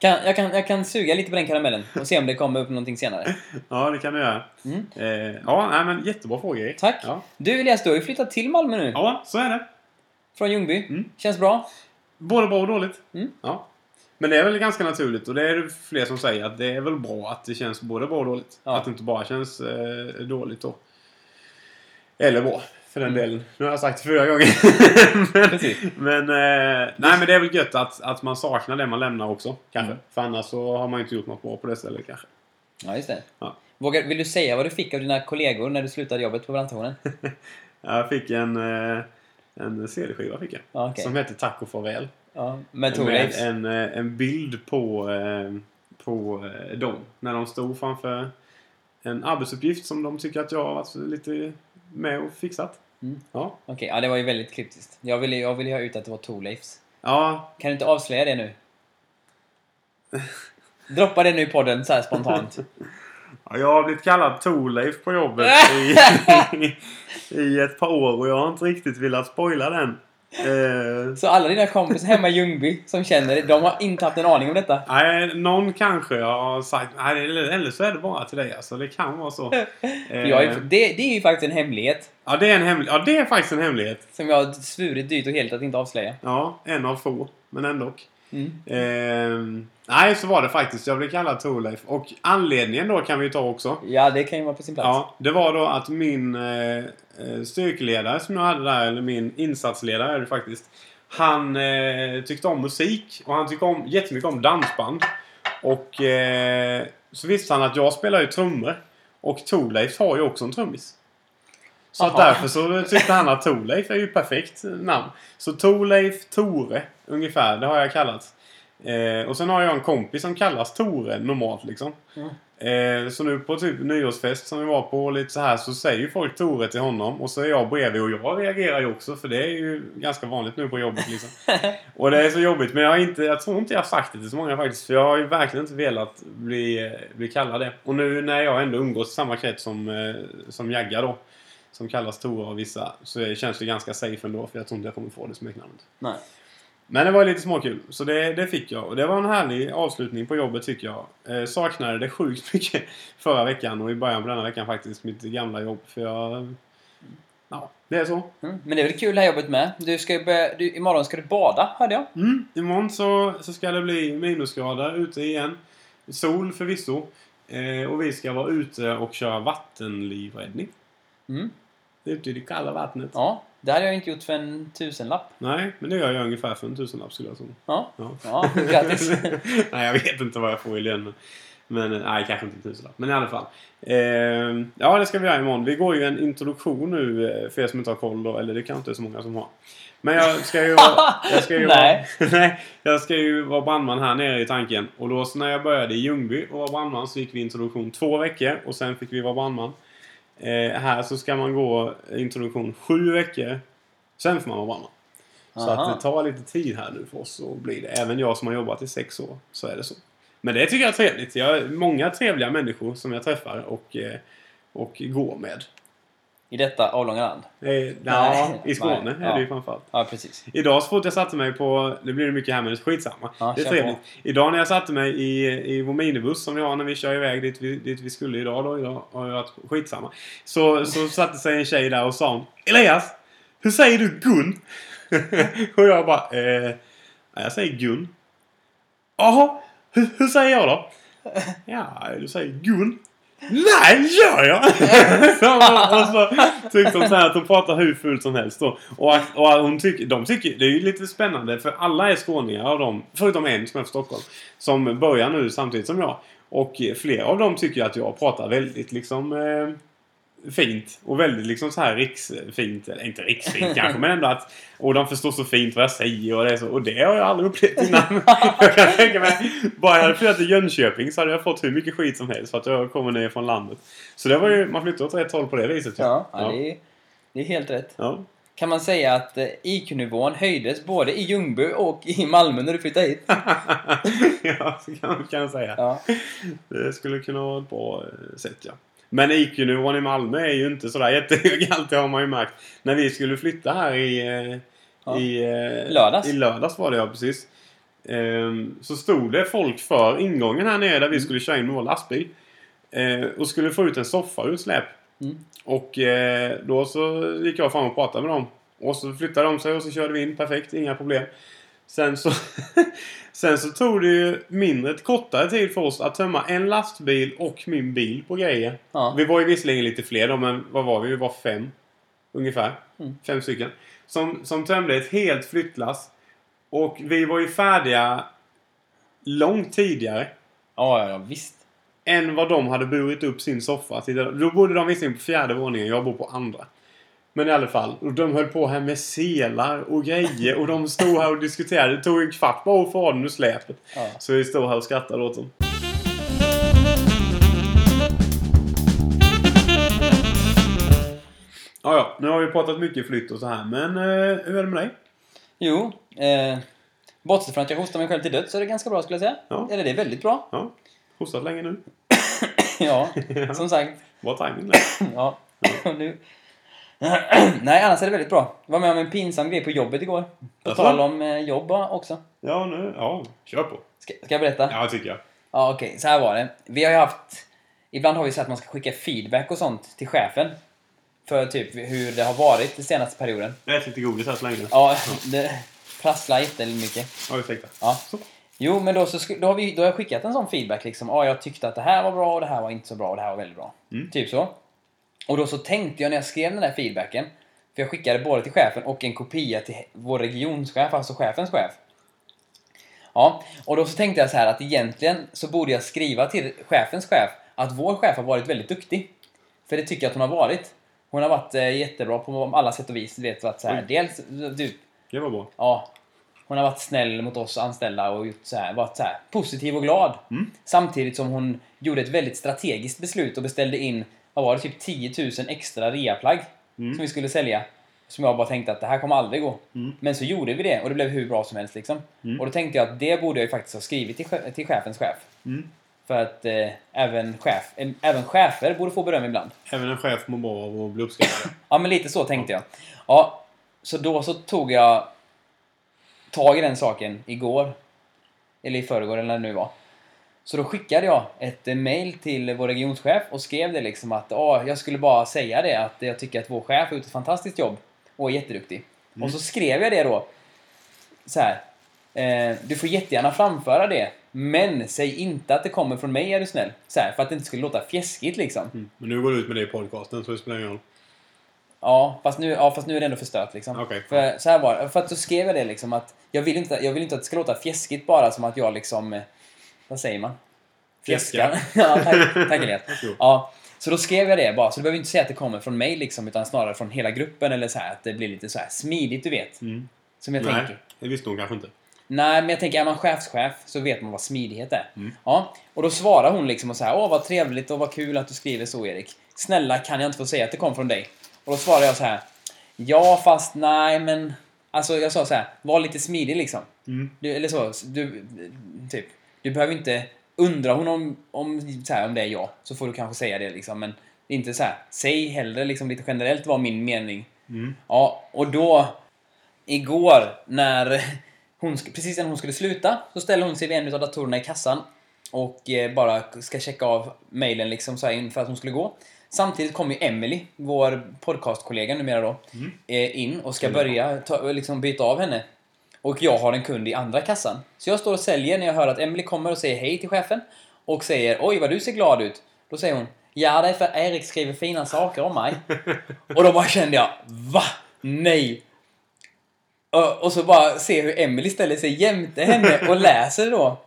[SPEAKER 1] kan, jag, kan, jag kan suga lite på den karamellen och se om det kommer upp någonting senare.
[SPEAKER 2] Ja, det kan du göra.
[SPEAKER 1] Mm.
[SPEAKER 2] Eh, ja, nej, men jättebra fråga Erik.
[SPEAKER 1] Tack.
[SPEAKER 2] Ja.
[SPEAKER 1] Du Elias, du har ju flyttat till Malmö nu.
[SPEAKER 2] ja, så är det.
[SPEAKER 1] Från Ljungby.
[SPEAKER 2] Mm.
[SPEAKER 1] Känns bra?
[SPEAKER 2] Både bra och dåligt.
[SPEAKER 1] Mm.
[SPEAKER 2] Ja. Men det är väl ganska naturligt och det är det fler som säger att det är väl bra att det känns både bra och dåligt.
[SPEAKER 1] Ja.
[SPEAKER 2] Att det inte bara känns eh, dåligt då. Eller bra. för
[SPEAKER 1] Mm.
[SPEAKER 2] den delen. Nu har jag sagt det fyra gånger. men,
[SPEAKER 1] Precis.
[SPEAKER 2] men, eh, nej, men det är väl gött att, att man saknar det man lämnar också. Kanske.
[SPEAKER 1] Mm.
[SPEAKER 2] För annars så har man ju inte gjort något bra på det stället kanske.
[SPEAKER 1] Ja, just det.
[SPEAKER 2] Ja.
[SPEAKER 1] Vågar, vill du säga vad du fick av dina kollegor när du slutade jobbet på brandtornen?
[SPEAKER 2] Jag fick en, eh, en CD-skiva fick jag.
[SPEAKER 1] Ja, okej.
[SPEAKER 2] Som heter Tack och farväl.
[SPEAKER 1] Ja, med
[SPEAKER 2] Med
[SPEAKER 1] Torleifs?
[SPEAKER 2] en, eh, en bild på, eh, på eh, dem. När de stod framför en arbetsuppgift som de tycker att jag har varit lite med och fixat.
[SPEAKER 1] Mm.
[SPEAKER 2] Ja.
[SPEAKER 1] Okej, ja det var ju väldigt kryptiskt. Jag ville, jag ville ju ha ut att det var Torleifs.
[SPEAKER 2] ja,
[SPEAKER 1] Kan du inte avslöja det nu? Droppa det nu i podden så här spontant.
[SPEAKER 2] Ja, jag har blivit kallad Torleif på jobbet i, i, i ett par år och jag har inte riktigt velat spoila den. Eh,
[SPEAKER 1] Så alla dina kompisar hemma i Ljungby som känner dig, de har inte haft en aning om detta.
[SPEAKER 2] nej, någon kanske har sagt nej, eller eller så är det bara till dig alltså. Det kan vara så.
[SPEAKER 1] För
[SPEAKER 2] Eh,
[SPEAKER 1] jag är, det, det är ju faktiskt en hemlighet
[SPEAKER 2] ja, det är en hemlig, ja, det är faktiskt en hemlighet.
[SPEAKER 1] som jag har svurit dyrt och helt att inte avslöja.
[SPEAKER 2] Ja, en av få, men ändå.
[SPEAKER 1] Mm.
[SPEAKER 2] Eh, nej, så var det faktiskt. Jag blev kallad Torleif. Och anledningen då kan vi ju ta också.
[SPEAKER 1] Ja, det kan ju vara på sin plats.
[SPEAKER 2] Ja, det var då att min eh, eh, styrkeledare som jag hade där, eller min insatsledare är det faktiskt. Han eh, tyckte om musik och han tyckte om, jättemycket om dansband. Och eh, så visste han att jag spelar ju trummor. Och Torleif har ju också en trummis. Så att
[SPEAKER 1] Aha.
[SPEAKER 2] därför så tyckte han att Torleif är ju perfekt namn. Så Torleif, Tore ungefär, det har jag kallats. Eh, och sen har jag en kompis som kallas Tore normalt liksom. Eh, så nu på typ nyårsfest som vi var på och lite så här så säger ju folk Tore till honom och så är jag bredvid och jag reagerar ju också för det är ju ganska vanligt nu på jobbet liksom. och det är så jobbigt men jag, har inte, jag tror inte jag har sagt det till så många faktiskt för jag har ju verkligen inte velat bli, eh, bli kallad det. Och nu när jag ändå umgås i samma krets som, eh, som Jagga då som kallas Tore av vissa så är- känns det ganska safe ändå för jag tror inte jag kommer få det smeknamnet.
[SPEAKER 1] Nej.
[SPEAKER 2] Men det var lite småkul, så det, det fick jag. Och det var en härlig avslutning på jobbet tycker jag. Eh, saknade det sjukt mycket förra veckan och i början på denna veckan faktiskt, mitt gamla jobb. För jag... Ja, det är så.
[SPEAKER 1] Mm. Men det är väl kul det här jobbet med. Du ska ju börja, du, imorgon ska du bada, hörde jag.
[SPEAKER 2] Mm, imorgon så, så ska det bli minusgrader ute igen. Sol förvisso. Eh, och vi ska vara ute och köra vattenlivräddning.
[SPEAKER 1] Mm.
[SPEAKER 2] Ute i det kalla vattnet.
[SPEAKER 1] Ja, det hade jag inte gjort för en tusenlapp.
[SPEAKER 2] Nej, men det gör jag ungefär för en tusenlapp skulle jag tro.
[SPEAKER 1] Ja,
[SPEAKER 2] Ja.
[SPEAKER 1] ja grattis.
[SPEAKER 2] nej, jag vet inte vad jag får i lön. Men men, eh, nej, kanske inte en tusenlapp. Men i alla fall. Eh, ja, det ska vi göra imorgon. Vi går ju en introduktion nu eh, för er som inte har koll då. Eller det kanske inte är så många som har. Men jag ska ju vara... Jag ska ju
[SPEAKER 1] Nej.
[SPEAKER 2] Vara, nej. Jag ska ju vara brandman här nere i tanken. Och då så när jag började i Ljungby och var brandman så gick vi introduktion två veckor. Och sen fick vi vara brandman. Eh, här så ska man gå introduktion sju veckor. Sen får man vara brandman. Så
[SPEAKER 1] Aha.
[SPEAKER 2] att det tar lite tid här nu för oss att bli det. Även jag som har jobbat i sex år, så är det så. Men det tycker jag är trevligt. Jag har många trevliga människor som jag träffar och, eh, och går med.
[SPEAKER 1] I detta avlånga land.
[SPEAKER 2] Eh, Ja, i Skåne
[SPEAKER 1] Nej,
[SPEAKER 2] är det ju
[SPEAKER 1] ja.
[SPEAKER 2] framförallt.
[SPEAKER 1] Ja, precis.
[SPEAKER 2] Idag så fort jag satte mig på... Nu blir det mycket här men skitsamma.
[SPEAKER 1] Ja,
[SPEAKER 2] det är
[SPEAKER 1] kör
[SPEAKER 2] trevligt.
[SPEAKER 1] på.
[SPEAKER 2] Idag när jag satte mig i, i vår minibuss som vi har när vi kör iväg dit vi, dit vi skulle idag då. Idag har jag varit skitsamma. Så, så satte sig en tjej där och sa Elias! Hur säger du Gun? och jag bara eh, ja, Jag säger Gun. Jaha! Hur, hur säger jag då? Ja, du säger Gun. Nej, gör jag! så, och så tyckte hon alltså, typ så här att hon pratar hur fult som helst då. Och, att- och att hon tycker, de tycker, det är ju lite spännande för alla är skåningar av dem, förutom en som är från Stockholm, som börjar nu samtidigt som jag. Och eh, flera av dem tycker att jag pratar väldigt liksom eh, fint och väldigt liksom så här riksfint, eller inte riksfint kanske, men ändå att och de förstår så fint vad jag säger och det är så. Och det har jag aldrig upplevt innan. jag kan tänka mig, bara jag hade flyttat till Jönköping så hade jag fått hur mycket skit som helst för att jag kommer ner från landet. Så det var ju, man flyttade åt rätt håll på det viset. typ.
[SPEAKER 1] Ja, ja.
[SPEAKER 2] ja.
[SPEAKER 1] Det, är, det är helt rätt.
[SPEAKER 2] ja.
[SPEAKER 1] Kan man säga att eh, IQ-nivån höjdes både i Ljungby och i Malmö när du flyttade hit?
[SPEAKER 2] ja, så kan man kan jag säga.
[SPEAKER 1] Ja.
[SPEAKER 2] Det skulle kunna vara ett bra eh, sätt, ja. Men IQ-nivån i Malmö är ju inte sådär jättehög alltid har man ju märkt. När vi skulle flytta här i... eh,
[SPEAKER 1] Ja.
[SPEAKER 2] i eh,
[SPEAKER 1] Lördags.
[SPEAKER 2] I lördags var det, ja precis. Ehm, Så stod det folk för ingången här nere där
[SPEAKER 1] Mm.
[SPEAKER 2] vi skulle köra in vår lastbil. Eh, Och skulle få ut en soffa ur släp.
[SPEAKER 1] Mm.
[SPEAKER 2] Och eh, då så gick jag fram och pratade med dem. Och så flyttade de sig och så körde vi in perfekt, inga problem. Sen så, sen så tog det ju mindre, kortare tid för oss att tömma en lastbil och min bil på grejer.
[SPEAKER 1] Ja.
[SPEAKER 2] Vi var ju visserligen lite fler då, men vad var vi? Vi var fem. ungefär.
[SPEAKER 1] Mm.
[SPEAKER 2] Fem stycken. Som, som tömde ett helt flyttlass. Och vi var ju färdiga långt tidigare
[SPEAKER 1] Ja, ja, ja, visst.
[SPEAKER 2] än vad de hade burit upp sin soffa. till. Då bodde de visserligen på fjärde våningen, jag bor på andra. Men i alla fall, och de höll på här med selar och grejer och de stod här och diskuterade. Det tog en kvart bara att få av den ur släpet.
[SPEAKER 1] Ja.
[SPEAKER 2] Så vi stod här och skrattade åt dem. Ja, ja, nu har vi pratat mycket flytt och så här, men eh, hur är det med dig?
[SPEAKER 1] Jo, eh, bortsett från att jag hostar mig själv till döds så är det ganska bra skulle jag säga.
[SPEAKER 2] Ja.
[SPEAKER 1] Eller det är väldigt bra.
[SPEAKER 2] Ja, hostat länge nu.
[SPEAKER 1] ja, som sagt.
[SPEAKER 2] Bra tajming där.
[SPEAKER 1] Ja, nu. Nej, annars är det väldigt bra. Jag var med om en pinsam grej på jobbet igår. På
[SPEAKER 2] Jaså?
[SPEAKER 1] tal om eh, jobb också.
[SPEAKER 2] Ja, nu, ja, kör på.
[SPEAKER 1] Ska, ska jag berätta?
[SPEAKER 2] Ja, tycker jag.
[SPEAKER 1] Ja, okej. Så här var det. Vi har ju haft... Ibland har vi sagt att man ska skicka feedback och sånt till chefen. För typ hur det har varit den senaste perioden.
[SPEAKER 2] Jag äter lite godis här så länge.
[SPEAKER 1] Ja, det prasslar jättemycket.
[SPEAKER 2] Ja, ursäkta.
[SPEAKER 1] Ja. Jo, men då, så, sk- då, har vi, då har jag skickat en sån feedback liksom. Ja, jag tyckte att det här var bra och det här var inte så bra och det här var väldigt bra.
[SPEAKER 2] Mm.
[SPEAKER 1] Typ så. Och då så tänkte jag när jag skrev den där feedbacken. För jag skickade både till chefen och en kopia till he- vår regionschef, alltså chefens chef. Ja, och då så tänkte jag så här att egentligen så borde jag skriva till chefens chef att vår chef har varit väldigt duktig. För det tycker jag att hon har varit. Hon har varit eh, jättebra på alla sätt och vis. Du vet, att så här,
[SPEAKER 2] Oj.
[SPEAKER 1] dels typ
[SPEAKER 2] Det var bra.
[SPEAKER 1] Ja. Hon har varit snäll mot oss anställda och gjort så här, varit så här positiv och glad. Samtidigt som hon gjorde ett väldigt strategiskt beslut och beställde in, vad var det, typ 10 000 extra reaplagg som vi skulle sälja. Som jag bara tänkte att det här kommer aldrig gå. Men så gjorde vi det och det blev hur bra som helst liksom. Och då tänkte jag att det borde jag ju faktiskt ha skrivit till, che- till chefens chef.
[SPEAKER 2] Mm.
[SPEAKER 1] För att eh, även, chef, eh, även chefer borde få beröm ibland.
[SPEAKER 2] Även en chef mår bra av att bli uppskattad.
[SPEAKER 1] Ja, men lite så tänkte jag. Ja, så då så tog jag tag i den saken igår. Eller i förrgår eller när det nu var. Så då skickade jag ett eh, mail till vår regionschef och skrev det liksom att "Ja, jag skulle bara säga det att jag tycker att vår chef har gjort ett fantastiskt jobb och är jätteduktig. Och så skrev jag det då så här. Eh, du får jättegärna framföra det men säg inte att det kommer från mig är du snäll. Så här, för att det inte skulle låta fjäskigt liksom.
[SPEAKER 2] Mm. Men nu går du ut med det i podcasten så det spelar ingen roll.
[SPEAKER 1] Ja fast, nu, ja, fast nu är det ändå förstört liksom.
[SPEAKER 2] Okej.
[SPEAKER 1] För, så här var det. För att då skrev jag det liksom att jag vill, inte, jag vill inte att det ska låta fjäskigt bara som att jag liksom... eh, Vad säger man?
[SPEAKER 2] Fjäskar.
[SPEAKER 1] ja, tack, tack Elias.
[SPEAKER 2] Jo.
[SPEAKER 1] Ja, så då skrev jag det bara. Så du behöver inte säga att det kommer från mig liksom utan snarare från hela gruppen eller så här att det blir lite så här smidigt du vet.
[SPEAKER 2] Mm.
[SPEAKER 1] Som jag
[SPEAKER 2] Nej,
[SPEAKER 1] tänker.
[SPEAKER 2] det visste hon kanske inte.
[SPEAKER 1] Nej, men jag tänker är man chefschef så vet man vad smidighet är.
[SPEAKER 2] Mm.
[SPEAKER 1] Ja, och då svarar hon liksom och så här, åh vad trevligt och vad kul att du skriver så Erik. Snälla kan jag inte få säga att det kom från dig? Och då svarar jag så här, ja fast nej men, alltså jag sa så här, var lite smidig liksom.
[SPEAKER 2] Mm.
[SPEAKER 1] Du, eller så, du, typ, du behöver inte, undra hon om, om, så här, om det är jag, så får du kanske säga det liksom. Men inte så här, säg hellre liksom lite generellt vad min mening.
[SPEAKER 2] Mm.
[SPEAKER 1] Ja, och då igår när hon, sk- precis innan hon skulle sluta så ställer hon sig vid en av datorerna i kassan och eh, bara ska checka av mejlen liksom så här inför att hon skulle gå. Samtidigt kommer ju Emily, vår podcastkollega numera då, eh, in och ska börja ta, liksom byta av henne. Och jag har en kund i andra kassan. Så jag står och säljer när jag hör att Emily kommer och säger hej till chefen och säger oj vad du ser glad ut. Då säger hon ja det är för Erik skriver fina saker om mig. Och då bara kände jag, va? Nej! Och- Och så bara se hur Emily ställer sig jämte henne och läser då.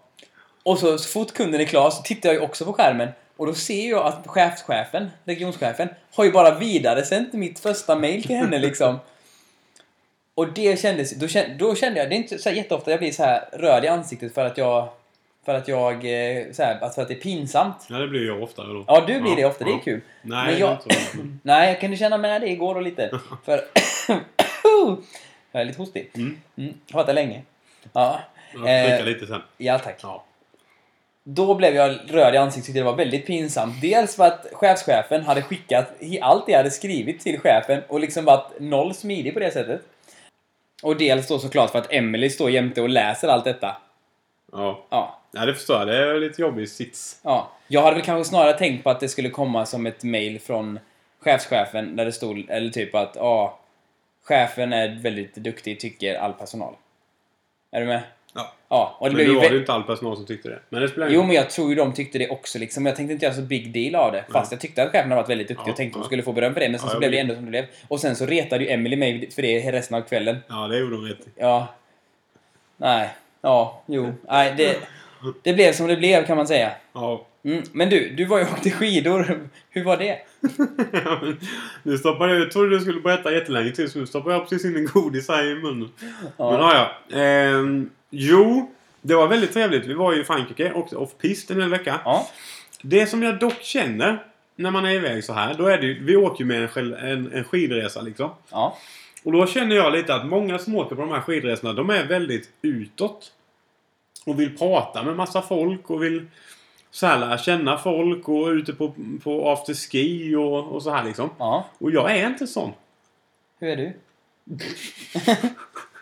[SPEAKER 1] Och så, så fort kunden är klar så tittar jag ju också på skärmen. Och då ser jag att chefschefen, regionschefen, har ju bara vidaresänt mitt första mail till henne liksom. Och det kändes, då kände, då kände jag, det är inte så här jätteofta jag blir så här röd i ansiktet för att jag, för att jag, eh, så här, att- för att det är pinsamt.
[SPEAKER 2] Ja, det blir jag oftare då.
[SPEAKER 1] Ja, du blir det ofta, det är
[SPEAKER 2] ja.
[SPEAKER 1] kul.
[SPEAKER 2] Nej,
[SPEAKER 1] Men
[SPEAKER 2] det är
[SPEAKER 1] jag-
[SPEAKER 2] inte så.
[SPEAKER 1] Nej, jag kunde känna med det igår och lite. För... jag är lite hostig.
[SPEAKER 2] Mm.
[SPEAKER 1] Mm. Pratar länge. Ja.
[SPEAKER 2] Jag
[SPEAKER 1] Eh,
[SPEAKER 2] dricker lite sen.
[SPEAKER 1] ja, tack.
[SPEAKER 2] Ja.
[SPEAKER 1] Då blev jag röd i ansiktet tyckte det var väldigt pinsamt. Dels för att chefschefen hade skickat i- allt det jag hade skrivit till chefen och liksom varit noll smidig på det sättet. Och dels då såklart för att Emily står jämte och läser allt detta.
[SPEAKER 2] Ja.
[SPEAKER 1] Ja.
[SPEAKER 2] ja, det förstår jag. Det är lite jobbig sits.
[SPEAKER 1] Ja, jag hade väl kanske snarare tänkt på att det skulle komma som ett mail från chefschefen där det stod, eller typ att ja, chefen är väldigt duktig tycker all personal. Är du med?
[SPEAKER 2] Ja.
[SPEAKER 1] Ja, och det
[SPEAKER 2] Men
[SPEAKER 1] blev
[SPEAKER 2] nu
[SPEAKER 1] ju
[SPEAKER 2] var det ju
[SPEAKER 1] vä-
[SPEAKER 2] inte all personal som tyckte det. Men det spelar ingen
[SPEAKER 1] Jo,
[SPEAKER 2] roll.
[SPEAKER 1] men jag tror ju de tyckte det också liksom. Jag tänkte inte göra så big deal av det. Fast jag tyckte att cheferna varit väldigt duktiga
[SPEAKER 2] Mm. Ja,
[SPEAKER 1] och tänkte att
[SPEAKER 2] ja.
[SPEAKER 1] de skulle få beröm för det. Men sen
[SPEAKER 2] Ja,
[SPEAKER 1] så
[SPEAKER 2] jag
[SPEAKER 1] blev det
[SPEAKER 2] blir-
[SPEAKER 1] ändå som det blev. Och sen så retade ju Emily mig för det resten av kvällen.
[SPEAKER 2] Ja, det gjorde de rätt i.
[SPEAKER 1] Ja. Nej. Ja, jo. Nej, det, det blev som det blev kan man säga.
[SPEAKER 2] Ja.
[SPEAKER 1] Mm. Men du, du var ju och åkte skidor. Hur var det?
[SPEAKER 2] Men nu stoppar jag, jag trodde du skulle berätta jättelänge till så nu stoppar jag precis in en godis här i munnen.
[SPEAKER 1] Ja.
[SPEAKER 2] Men ja, ja. Ehm, jo, det var väldigt trevligt. Vi var ju i Frankrike och off-pist en hel vecka.
[SPEAKER 1] Ja.
[SPEAKER 2] Det som jag dock känner när man är iväg så här, då är det ju, vi åker ju med en, själ- en, en skidresa liksom.
[SPEAKER 1] Ja.
[SPEAKER 2] Och då känner jag lite att många som åker på de här skidresorna, de är väldigt utåt. Och vill prata med massa folk och vill så här lära känna folk och ute på, på afterski och, och så här liksom.
[SPEAKER 1] Ja.
[SPEAKER 2] Och jag är inte sån.
[SPEAKER 1] Hur är du?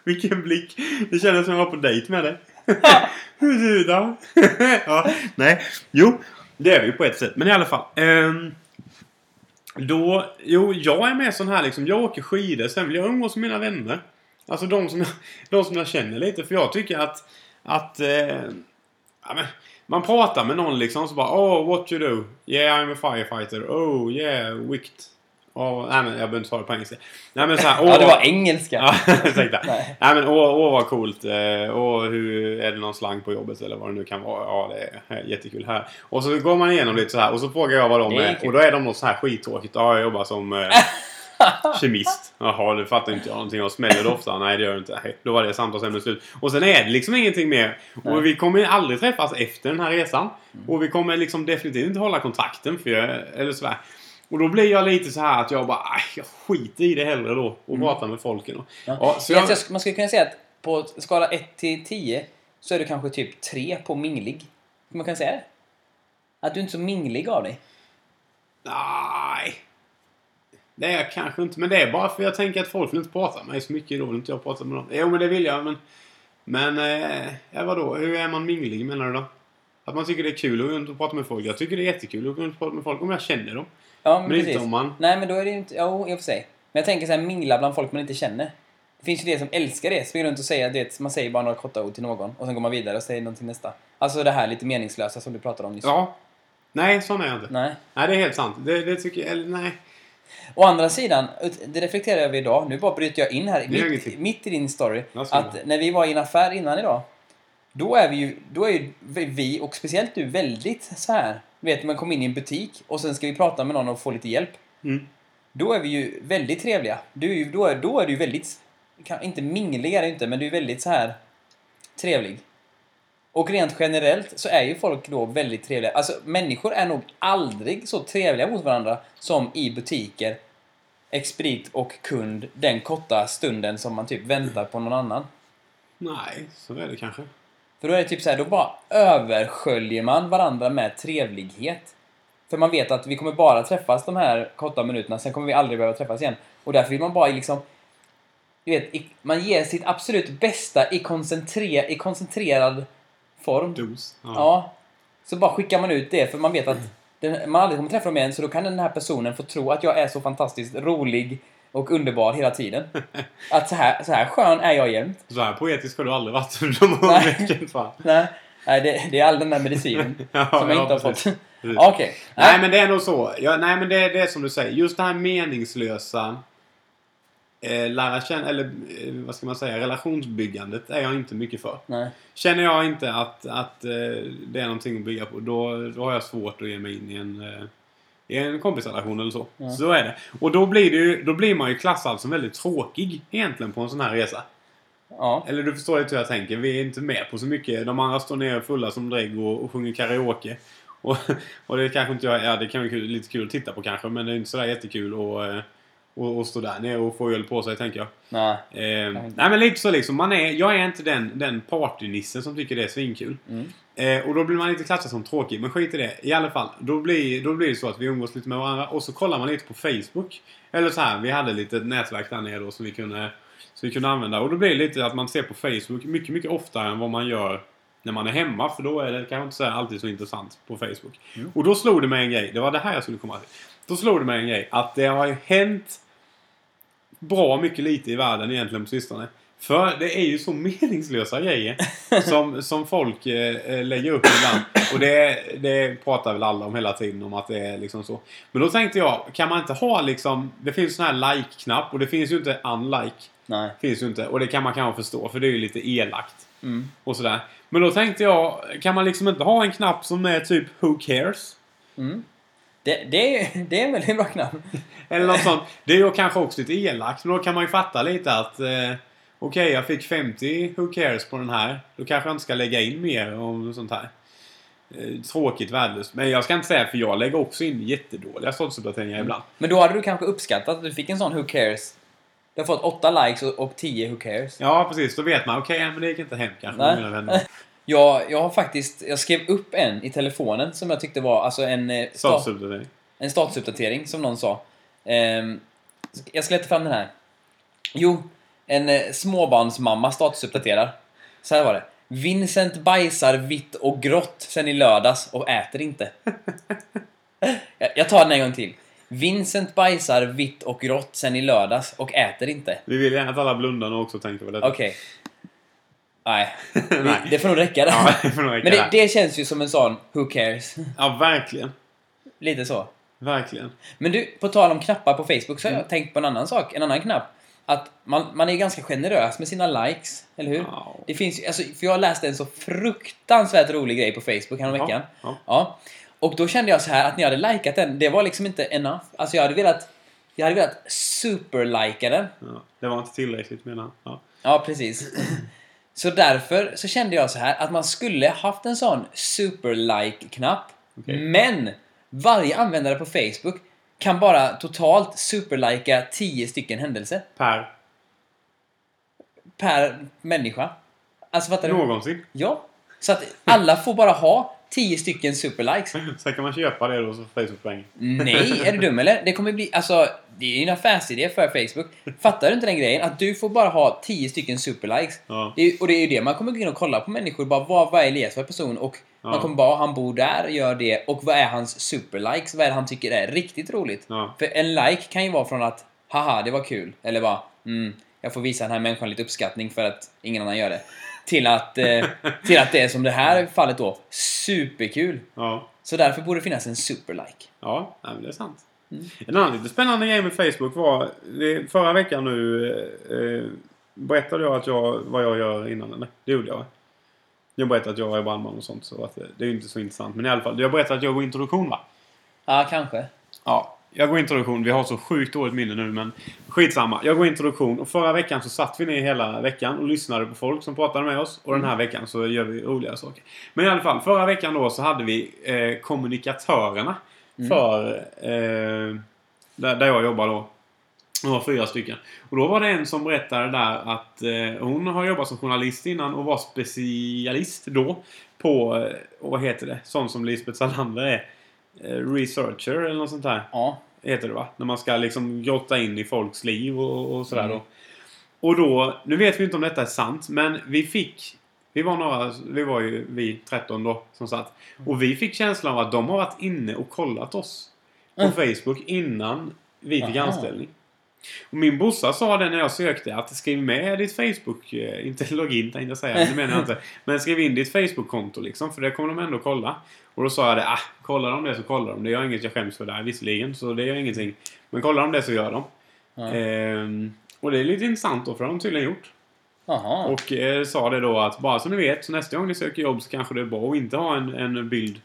[SPEAKER 2] Vilken blick! Det kändes som jag var på dejt med dig. Hur du då? ja, nej. Jo, det är vi ju på ett sätt. Men i alla fall. ehm, då, jo, jag är med sån här liksom. Jag åker skidor, sen vill jag umgås med mina vänner. Alltså de som, de som jag känner lite. För jag tycker att... att eh, ja, men, man pratar med någon liksom så bara Oh, what you do? Yeah, I'm a firefighter. Oh, yeah, wicked. Oh, nej, men jag behöver inte ta det på engelska. Nej, men så här,
[SPEAKER 1] Ja, det
[SPEAKER 2] "Åh,
[SPEAKER 1] var engelska.
[SPEAKER 2] Ja, ursäkta.
[SPEAKER 1] Nej.
[SPEAKER 2] Nej. men åh, åh vad coolt. Eh, Åh, hur, är det någon slang på jobbet eller vad det nu kan vara? Ja, det är jättekul här. Och så går man igenom lite så här och så frågar jag vad de
[SPEAKER 1] Det är
[SPEAKER 2] är.
[SPEAKER 1] kul.
[SPEAKER 2] Och då är de något så här skittråkigt. Ja, jag jobbar som eh, kemist. Jaha, du fattar inte jag någonting. Jag smäller det ofta. Nej, det gör jag inte. Nej, då var det samtalsämnet slut. Och sen är det liksom ingenting mer.
[SPEAKER 1] Nej.
[SPEAKER 2] Och vi kommer aldrig träffas efter den här resan. Och vi kommer liksom definitivt inte hålla kontakten. För jag, eller så här. Och då blir jag lite så här att jag bara, "Aj, jag skiter i det hellre då och pratar med folken. Och,
[SPEAKER 1] Mm. Ja.
[SPEAKER 2] Ja, så
[SPEAKER 1] Men
[SPEAKER 2] jag,
[SPEAKER 1] jag, man skulle kunna säga att på skala 1 till 10 så är du kanske typ 3 på minglig. Kan man kan säga det? Att du inte är så minglig av dig.
[SPEAKER 2] Nej. Det är jag kanske inte. Men det är bara för jag tänker att folk vill inte prata med mig så mycket. Då vill inte jag prata med dem. Jo, men det vill jag. Men, men eh, ja, vadå? Hur är man minglig menar du då? Att man tycker det är kul att gå runt och prata med folk. Jag tycker det är jättekul att gå runt och prata med folk om jag känner dem.
[SPEAKER 1] Ja, men,
[SPEAKER 2] Men inte
[SPEAKER 1] precis.
[SPEAKER 2] om man-
[SPEAKER 1] Nej, men då är det ju inte... Jo, i och för sig. Men jag tänker så här, mingla bland folk man inte känner. Det finns ju det som älskar det. Springa runt och säga det. Man säger bara några korta ord till någon och sen går man vidare och säger någonting till nästa. Alltså det här lite meningslösa som du pratade om nyss.
[SPEAKER 2] Ja. Nej, sån är jag inte. Nej,
[SPEAKER 1] Nej.
[SPEAKER 2] det är helt sant. Det, det tycker jag... Eller nej.
[SPEAKER 1] Å andra sidan, ut- det reflekterar jag över idag. Nu bara bryter jag in här,
[SPEAKER 2] Det gör
[SPEAKER 1] mitt,
[SPEAKER 2] ingenting.
[SPEAKER 1] mitt i din story.
[SPEAKER 2] Jag ska
[SPEAKER 1] Att
[SPEAKER 2] med.
[SPEAKER 1] när vi var i en affär innan idag, då är, vi ju, då är ju vi, och speciellt du, väldigt så här. Du vet, man kommer in i en butik och sen ska vi prata med någon och få lite hjälp.
[SPEAKER 2] Mm.
[SPEAKER 1] Då är vi ju väldigt trevliga. Du är ju, då, är, då är du ju väldigt, kan- inte minglig är det inte, men du är väldigt så här trevlig. Och rent generellt så är ju folk då väldigt trevliga. Alltså människor är nog aldrig så trevliga mot varandra som i butiker, expedit och kund den korta stunden som man typ väntar på någon annan.
[SPEAKER 2] Nej, så är det kanske.
[SPEAKER 1] För då är det typ så här, då bara översköljer man varandra med trevlighet. För man vet att vi kommer bara träffas de här korta minuterna, sen kommer vi aldrig behöva träffas igen. Och därför vill man bara liksom... Du vet, i- man ger sitt absolut bästa i, koncentre, i koncentrerad form.
[SPEAKER 2] Dos. Ja.
[SPEAKER 1] Ja. Så bara skickar man ut det för man vet att den, man aldrig kommer träffa dem igen så då kan den här personen få tro att jag är så fantastiskt rolig och underbar hela tiden. Att så här, så här skön är jag jämt.
[SPEAKER 2] Så här poetisk har du aldrig varit under de här
[SPEAKER 1] Nej.
[SPEAKER 2] veckorna. fan.
[SPEAKER 1] Nej, nej det, det är all den där medicinen
[SPEAKER 2] Ja,
[SPEAKER 1] som jag
[SPEAKER 2] ja,
[SPEAKER 1] inte har
[SPEAKER 2] precis.
[SPEAKER 1] fått.
[SPEAKER 2] Precis.
[SPEAKER 1] Okej.
[SPEAKER 2] Nej,
[SPEAKER 1] Nej,
[SPEAKER 2] men det är nog så. Ja, nej, men det är det är som du säger. Just det här meningslösa eh, lära känna, eller eh, vad ska man säga, relationsbyggandet är jag inte mycket för.
[SPEAKER 1] nej.
[SPEAKER 2] Känner jag inte att, att eh, det är någonting att bygga på, då, då har jag svårt att ge mig in i en, eh, i en kompisrelation eller så. Så är det. Och då blir, det ju, då blir man ju klassad som väldigt tråkig egentligen på en sån här resa.
[SPEAKER 1] Ja.
[SPEAKER 2] Eller du förstår lite hur jag tänker. Vi är inte med på så mycket. De andra står nere fulla som drägg och, och sjunger karaoke. Och, och det kanske inte jag Ja, det kan vara kul, lite kul att titta på kanske. Men det är inte sådär jättekul att eh, och, och stå där nere och få öl på sig, tänker jag.
[SPEAKER 1] Nej.
[SPEAKER 2] Eh, nej, men lite så liksom. Man är, jag är inte den, den partynissen som tycker det är svinkul.
[SPEAKER 1] Mm.
[SPEAKER 2] Eh, och då blir man inte klassad som tråkig, men skit i det. I alla fall, då blir, då blir det så att vi umgås lite med varandra och så kollar man lite på Facebook. Eller så här, vi hade lite nätverk där nere då som vi kunde, som vi kunde använda. Och då blir det lite att man ser på Facebook mycket, mycket oftare än vad man gör när man är hemma. För då är det kanske inte så här alltid så intressant på Facebook. Och då slog det mig en grej. Det var det här jag skulle komma till. Då slog det mig en grej. Att det har ju hänt bra mycket lite i världen egentligen på sistone. För det är ju så meningslösa grejer som, som folk eh, eh, lägger upp ibland. Och det, det pratar väl alla om hela tiden om att det är liksom så. Men då tänkte jag, kan man inte ha liksom... Det finns sån här like-knapp och det finns ju inte unlike.
[SPEAKER 1] Nej.
[SPEAKER 2] Finns ju inte. Och det kan man kanske förstå för det är ju lite elakt.
[SPEAKER 1] Mm.
[SPEAKER 2] Och sådär. Men då tänkte jag, kan man liksom inte ha en knapp som är typ Who cares?
[SPEAKER 1] Mm. Det, det, är, det är en väldigt bra knapp.
[SPEAKER 2] Eller något sånt. Det är ju kanske också lite elakt, men då kan man ju fatta lite att eh, okej, jag fick 50 who cares på den här. Då kanske jag inte ska lägga in mer om sånt här. Eh, tråkigt, värdelöst. Men jag ska inte säga, för jag lägger också in jättedåliga statusuppdateringar ibland.
[SPEAKER 1] Men då hade du kanske uppskattat att du fick en sån Who cares? Du har fått 8 likes och- och 10 Who cares.
[SPEAKER 2] Ja, precis. Då vet man, okej, men det gick inte hem kanske. med
[SPEAKER 1] Nej.
[SPEAKER 2] Mina vänner.
[SPEAKER 1] Jag, jag har faktiskt, jag skrev upp en i telefonen som jag tyckte var, alltså en... eh, sta-
[SPEAKER 2] Statusuppdatering.
[SPEAKER 1] En statusuppdatering som någon sa. Ehm, jag ska leta fram den här. Jo, en eh, småbarnsmamma statusuppdaterar. Så här var det. Vincent bajsar vitt och grått sen i lördags och äter inte. jag, jag tar den en gång till. Vincent bajsar vitt och grått sen i lördags och äter inte.
[SPEAKER 2] Vi vill gärna att alla blundar nu också tänker på detta.
[SPEAKER 1] Okej. Nej.
[SPEAKER 2] Nej.
[SPEAKER 1] Det får nog räcka där.
[SPEAKER 2] Ja, det får nog räcka
[SPEAKER 1] Men det,
[SPEAKER 2] där.
[SPEAKER 1] det känns ju som en sån who cares.
[SPEAKER 2] Ja, verkligen.
[SPEAKER 1] Lite så.
[SPEAKER 2] Verkligen.
[SPEAKER 1] Men du, på tal om knappar på Facebook så har
[SPEAKER 2] Mm.
[SPEAKER 1] jag tänkt på en annan sak, en annan knapp. Att man, man är ganska generös med sina likes, eller hur?
[SPEAKER 2] Ja.
[SPEAKER 1] Det finns ju, alltså, för jag läste en så fruktansvärt rolig grej på Facebook häromveckan.
[SPEAKER 2] Ja, ja.
[SPEAKER 1] Ja. Och då kände jag så här att när jag hade likat den, det var liksom inte enough. Alltså jag hade velat, jag hade velat superlika den.
[SPEAKER 2] Ja, det var inte tillräckligt menar han. Ja.
[SPEAKER 1] Ja, precis. Så därför så kände jag så här att man skulle haft en sån super-like-knapp.
[SPEAKER 2] Okej.
[SPEAKER 1] Men varje användare på Facebook kan bara totalt superlika 10 stycken händelser
[SPEAKER 2] Per.
[SPEAKER 1] per människa. Alltså fattar du?
[SPEAKER 2] Någonsin.
[SPEAKER 1] Ja. Så att alla får bara ha 10 stycken superlikes.
[SPEAKER 2] Sen kan man köpa det då så får Facebook-poäng.
[SPEAKER 1] Nej, är du dum eller? Det kommer bli, alltså, det är ju en affärsidé för Facebook. Fattar du inte den grejen? Att du får bara ha 10 stycken superlikes.
[SPEAKER 2] Ja.
[SPEAKER 1] Det är, och det är ju det man kommer gå in och kolla på människor. Bara vad, vad är Elias för person? Och
[SPEAKER 2] Ja.
[SPEAKER 1] man kommer bara, han bor där och gör det. Och vad är hans superlikes? Vad är det han tycker är riktigt roligt?
[SPEAKER 2] Ja.
[SPEAKER 1] För en like kan ju vara från att, haha, det var kul. Eller bara, mm, jag får visa den här människan lite uppskattning för att ingen annan gör det. Till att, eh, till att det är som det här fallet då, superkul.
[SPEAKER 2] Ja.
[SPEAKER 1] Så därför borde det finnas en superlike.
[SPEAKER 2] Ja, nej, men det är sant. En annan lite spännande grej med Facebook var... Det, förra veckan nu eh, eh, berättade jag, att jag vad jag gör innan. Eller? Det gjorde jag. va? Jag berättade att jag är brandman och sånt. Så att, eh, det- det är ju inte så intressant. Men i alla fall, jag berättade att jag går introduktion va?
[SPEAKER 1] Ja, kanske.
[SPEAKER 2] Ja, jag går introduktion. Vi har så sjukt dåligt minne nu men skitsamma. Jag går introduktion och förra veckan så satt vi ner hela veckan och lyssnade på folk som pratade med oss. Och den här veckan så gör vi roligare saker. Men i alla fall, förra veckan då så hade vi eh, kommunikatörerna för eh, där, där jag jobbar då. Det var fyra stycken. Och då var det en som berättade där att eh, hon har jobbat som journalist innan och var specialist då på, eh, vad heter det, sånt som Lisbeth Salander är. Eh, researcher eller något sånt där
[SPEAKER 1] Ja.
[SPEAKER 2] heter det va? När man ska liksom grotta in i folks liv och, och sådär
[SPEAKER 1] Mm.
[SPEAKER 2] då. Och då, nu vet vi inte om detta är sant, men vi fick vi var några, vi var ju vi 13 då som satt. Och vi fick känslan av att de har varit inne och kollat oss. På
[SPEAKER 1] Mm.
[SPEAKER 2] Facebook innan vi fick
[SPEAKER 1] Aha.
[SPEAKER 2] anställning. Och min brorsa sa det när jag sökte att skriv med ditt Facebook, eh, inte login tänkte jag säga, men det menar jag inte. Men skriv in ditt Facebook-konto liksom, för det kommer de ändå kolla. Och då sa jag det, ah, kollar de det så kollar de. Det gör inget jag skäms för där visserligen, så det gör ingenting. Men kollar de det så gör de.
[SPEAKER 1] Ja.
[SPEAKER 2] Ehm, och det är lite intressant då, för det har de tydligen gjort.
[SPEAKER 1] Jaha.
[SPEAKER 2] Och eh, sa det då att bara så ni vet, så nästa gång ni söker jobb så kanske det är bra att inte ha en, en bild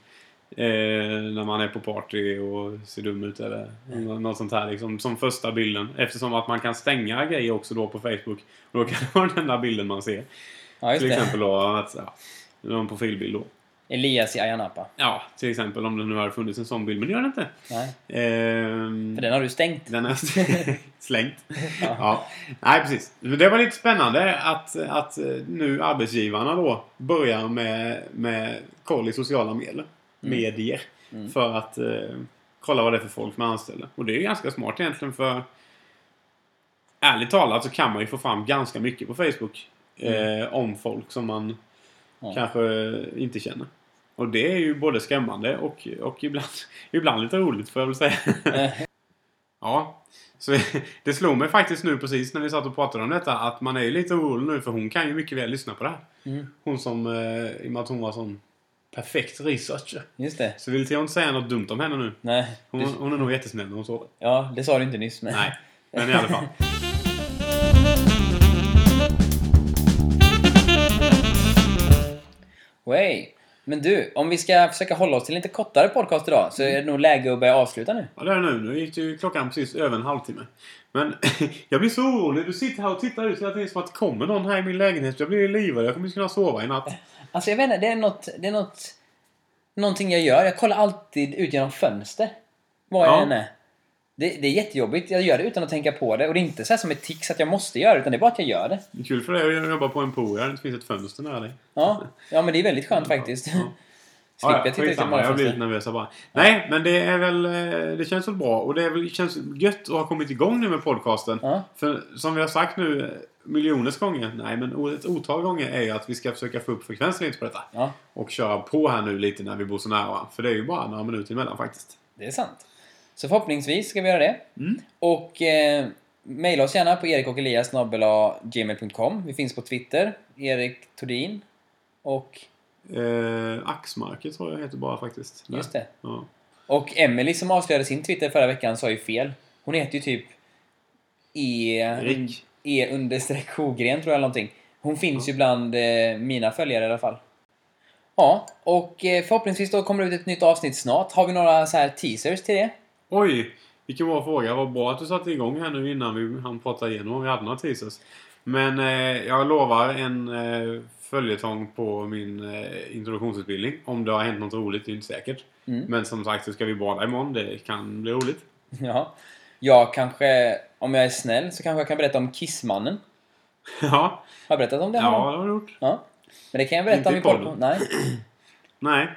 [SPEAKER 2] eh, när man är på party och ser dum ut eller nå-
[SPEAKER 1] Mm.
[SPEAKER 2] något sånt här liksom, som första bilden. Eftersom att man kan stänga grejer också då på Facebook. Och då kan det vara den enda bilden man ser.
[SPEAKER 1] Ja, just
[SPEAKER 2] Till
[SPEAKER 1] det.
[SPEAKER 2] exempel då att, ja, någon profilbild då.
[SPEAKER 1] Elias i Ayia Napa.
[SPEAKER 2] Ja, till exempel om det nu har funnits en sån bild, men det gör det inte.
[SPEAKER 1] Nej,
[SPEAKER 2] Ehm,
[SPEAKER 1] för den har du stängt.
[SPEAKER 2] den är slängt.
[SPEAKER 1] Ja.
[SPEAKER 2] Mm. Ja. Nej, precis. Men det var lite spännande att, att eh, nu arbetsgivarna då börjar med, med koll i sociala medier. medier För att eh, kolla vad det är för folk man anställer. Och det är ju ganska smart egentligen för ärligt talat så kan man ju få fram ganska mycket på Facebook eh, om folk som man
[SPEAKER 1] Ja.
[SPEAKER 2] kanske inte känner. Och det är ju både skrämmande och, och ibland, ibland lite roligt får jag väl säga. Ja. Så det slog mig faktiskt nu precis när vi satt och pratade om detta att man är ju lite orolig nu för hon kan ju mycket väl lyssna på det här.
[SPEAKER 1] Mm.
[SPEAKER 2] Hon som, eh, i och med att hon var sån perfekt researcher.
[SPEAKER 1] Just det.
[SPEAKER 2] Så vill jag inte säga något dumt om henne nu.
[SPEAKER 1] Nej.
[SPEAKER 2] Hon, hon är nog jättesnäll när hon sover.
[SPEAKER 1] Ja, det sa du inte nyss. Men...
[SPEAKER 2] Mm. Nej, men i alla fall.
[SPEAKER 1] Way. Men du, om vi ska försöka hålla oss till en lite kortare podcast idag så är det nog läge att börja avsluta nu.
[SPEAKER 2] Ja, det är det nu. Nu gick ju klockan precis över en halvtimme. Men jag blir så orolig. Du sitter här och tittar ut hela tiden som att det kommer någon här i min lägenhet. Jag blir livrädd. Jag kommer inte kunna sova i natt.
[SPEAKER 1] Alltså jag vet inte, det är något... Det är något någonting jag gör. Jag kollar alltid ut genom fönster. Vad jag
[SPEAKER 2] Ja.
[SPEAKER 1] än är. Det, det är jättejobbigt. Jag gör det utan att tänka på det. Och det är inte så här som ett tics att jag måste göra det, utan det är bara att jag gör det.
[SPEAKER 2] Det är kul för dig att jobba på en pool där det inte finns ett fönster nära dig.
[SPEAKER 1] Ja, ja men det är väldigt skönt faktiskt.
[SPEAKER 2] Ja.
[SPEAKER 1] Slipper
[SPEAKER 2] Mm. ja,
[SPEAKER 1] jag titta ut genom
[SPEAKER 2] skitsamma. Jag har blivit
[SPEAKER 1] morgonfönstret.
[SPEAKER 2] nervös här bara. Nej, men det är väl... eh, Det känns väl bra. Och det är väl, känns gött att ha kommit igång nu med podcasten.
[SPEAKER 1] Ja.
[SPEAKER 2] För som vi har sagt nu eh, miljoners gånger, nej men o- ett otal gånger är ju att vi ska försöka få upp frekvensen lite på detta.
[SPEAKER 1] ja,
[SPEAKER 2] Och köra på här nu lite när vi bor så nära varandra. För det är ju bara några minuter emellan faktiskt.
[SPEAKER 1] det är sant. Så förhoppningsvis ska vi göra det.
[SPEAKER 2] Mm.
[SPEAKER 1] Och eh, mejla oss gärna på erikocheliasgmail.com. Vi finns på Twitter, Erik Tordin. Och,
[SPEAKER 2] Eh, Axmarket tror jag heter bara faktiskt. Där.
[SPEAKER 1] just det.
[SPEAKER 2] Ja.
[SPEAKER 1] Och Emily som avslöjade sin Twitter förra veckan sa ju fel. Hon heter ju typ E...
[SPEAKER 2] Erik.
[SPEAKER 1] E understreck Kogren tror jag någonting. Hon finns ju bland eh, mina följare i alla fall. Ja, och eh, förhoppningsvis då kommer det ut ett nytt avsnitt snart. Har vi några så här teasers till det?
[SPEAKER 2] Oj! Vilken bra fråga. Vad bra att du satte igång här nu innan vi hann prata igenom om vi hade några teasers. Men eh, jag lovar en eh, följetong på min eh, introduktionsutbildning. Om det har hänt något roligt, det är inte säkert.
[SPEAKER 1] Mm.
[SPEAKER 2] Men som sagt så ska vi bada imorgon. Det kan bli roligt.
[SPEAKER 1] Ja. Jag kanske, om jag är snäll, så kanske jag kan berätta om Kissmannen.
[SPEAKER 2] ja,
[SPEAKER 1] Har jag berättat om det? här
[SPEAKER 2] ja
[SPEAKER 1] någon?
[SPEAKER 2] det har du gjort.
[SPEAKER 1] ja. Men det kan jag berätta om i
[SPEAKER 2] Inte i
[SPEAKER 1] podden. Nej.
[SPEAKER 2] Nej.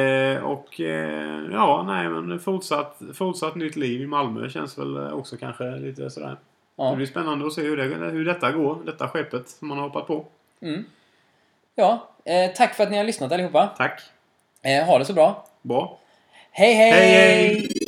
[SPEAKER 2] Eh, och eh, ja, nej men fortsatt, fortsatt nytt liv i Malmö känns väl eh, också kanske lite sådär. Det
[SPEAKER 1] Ja.
[SPEAKER 2] blir spännande att se hur, det, hur detta går. Detta skeppet som man har hoppat på.
[SPEAKER 1] Mm. ja. Eh, tack för att ni har lyssnat allihopa.
[SPEAKER 2] Tack.
[SPEAKER 1] Eh, ha det så bra.
[SPEAKER 2] Bra.
[SPEAKER 1] hej!
[SPEAKER 2] Hej,
[SPEAKER 1] hej.
[SPEAKER 2] hej!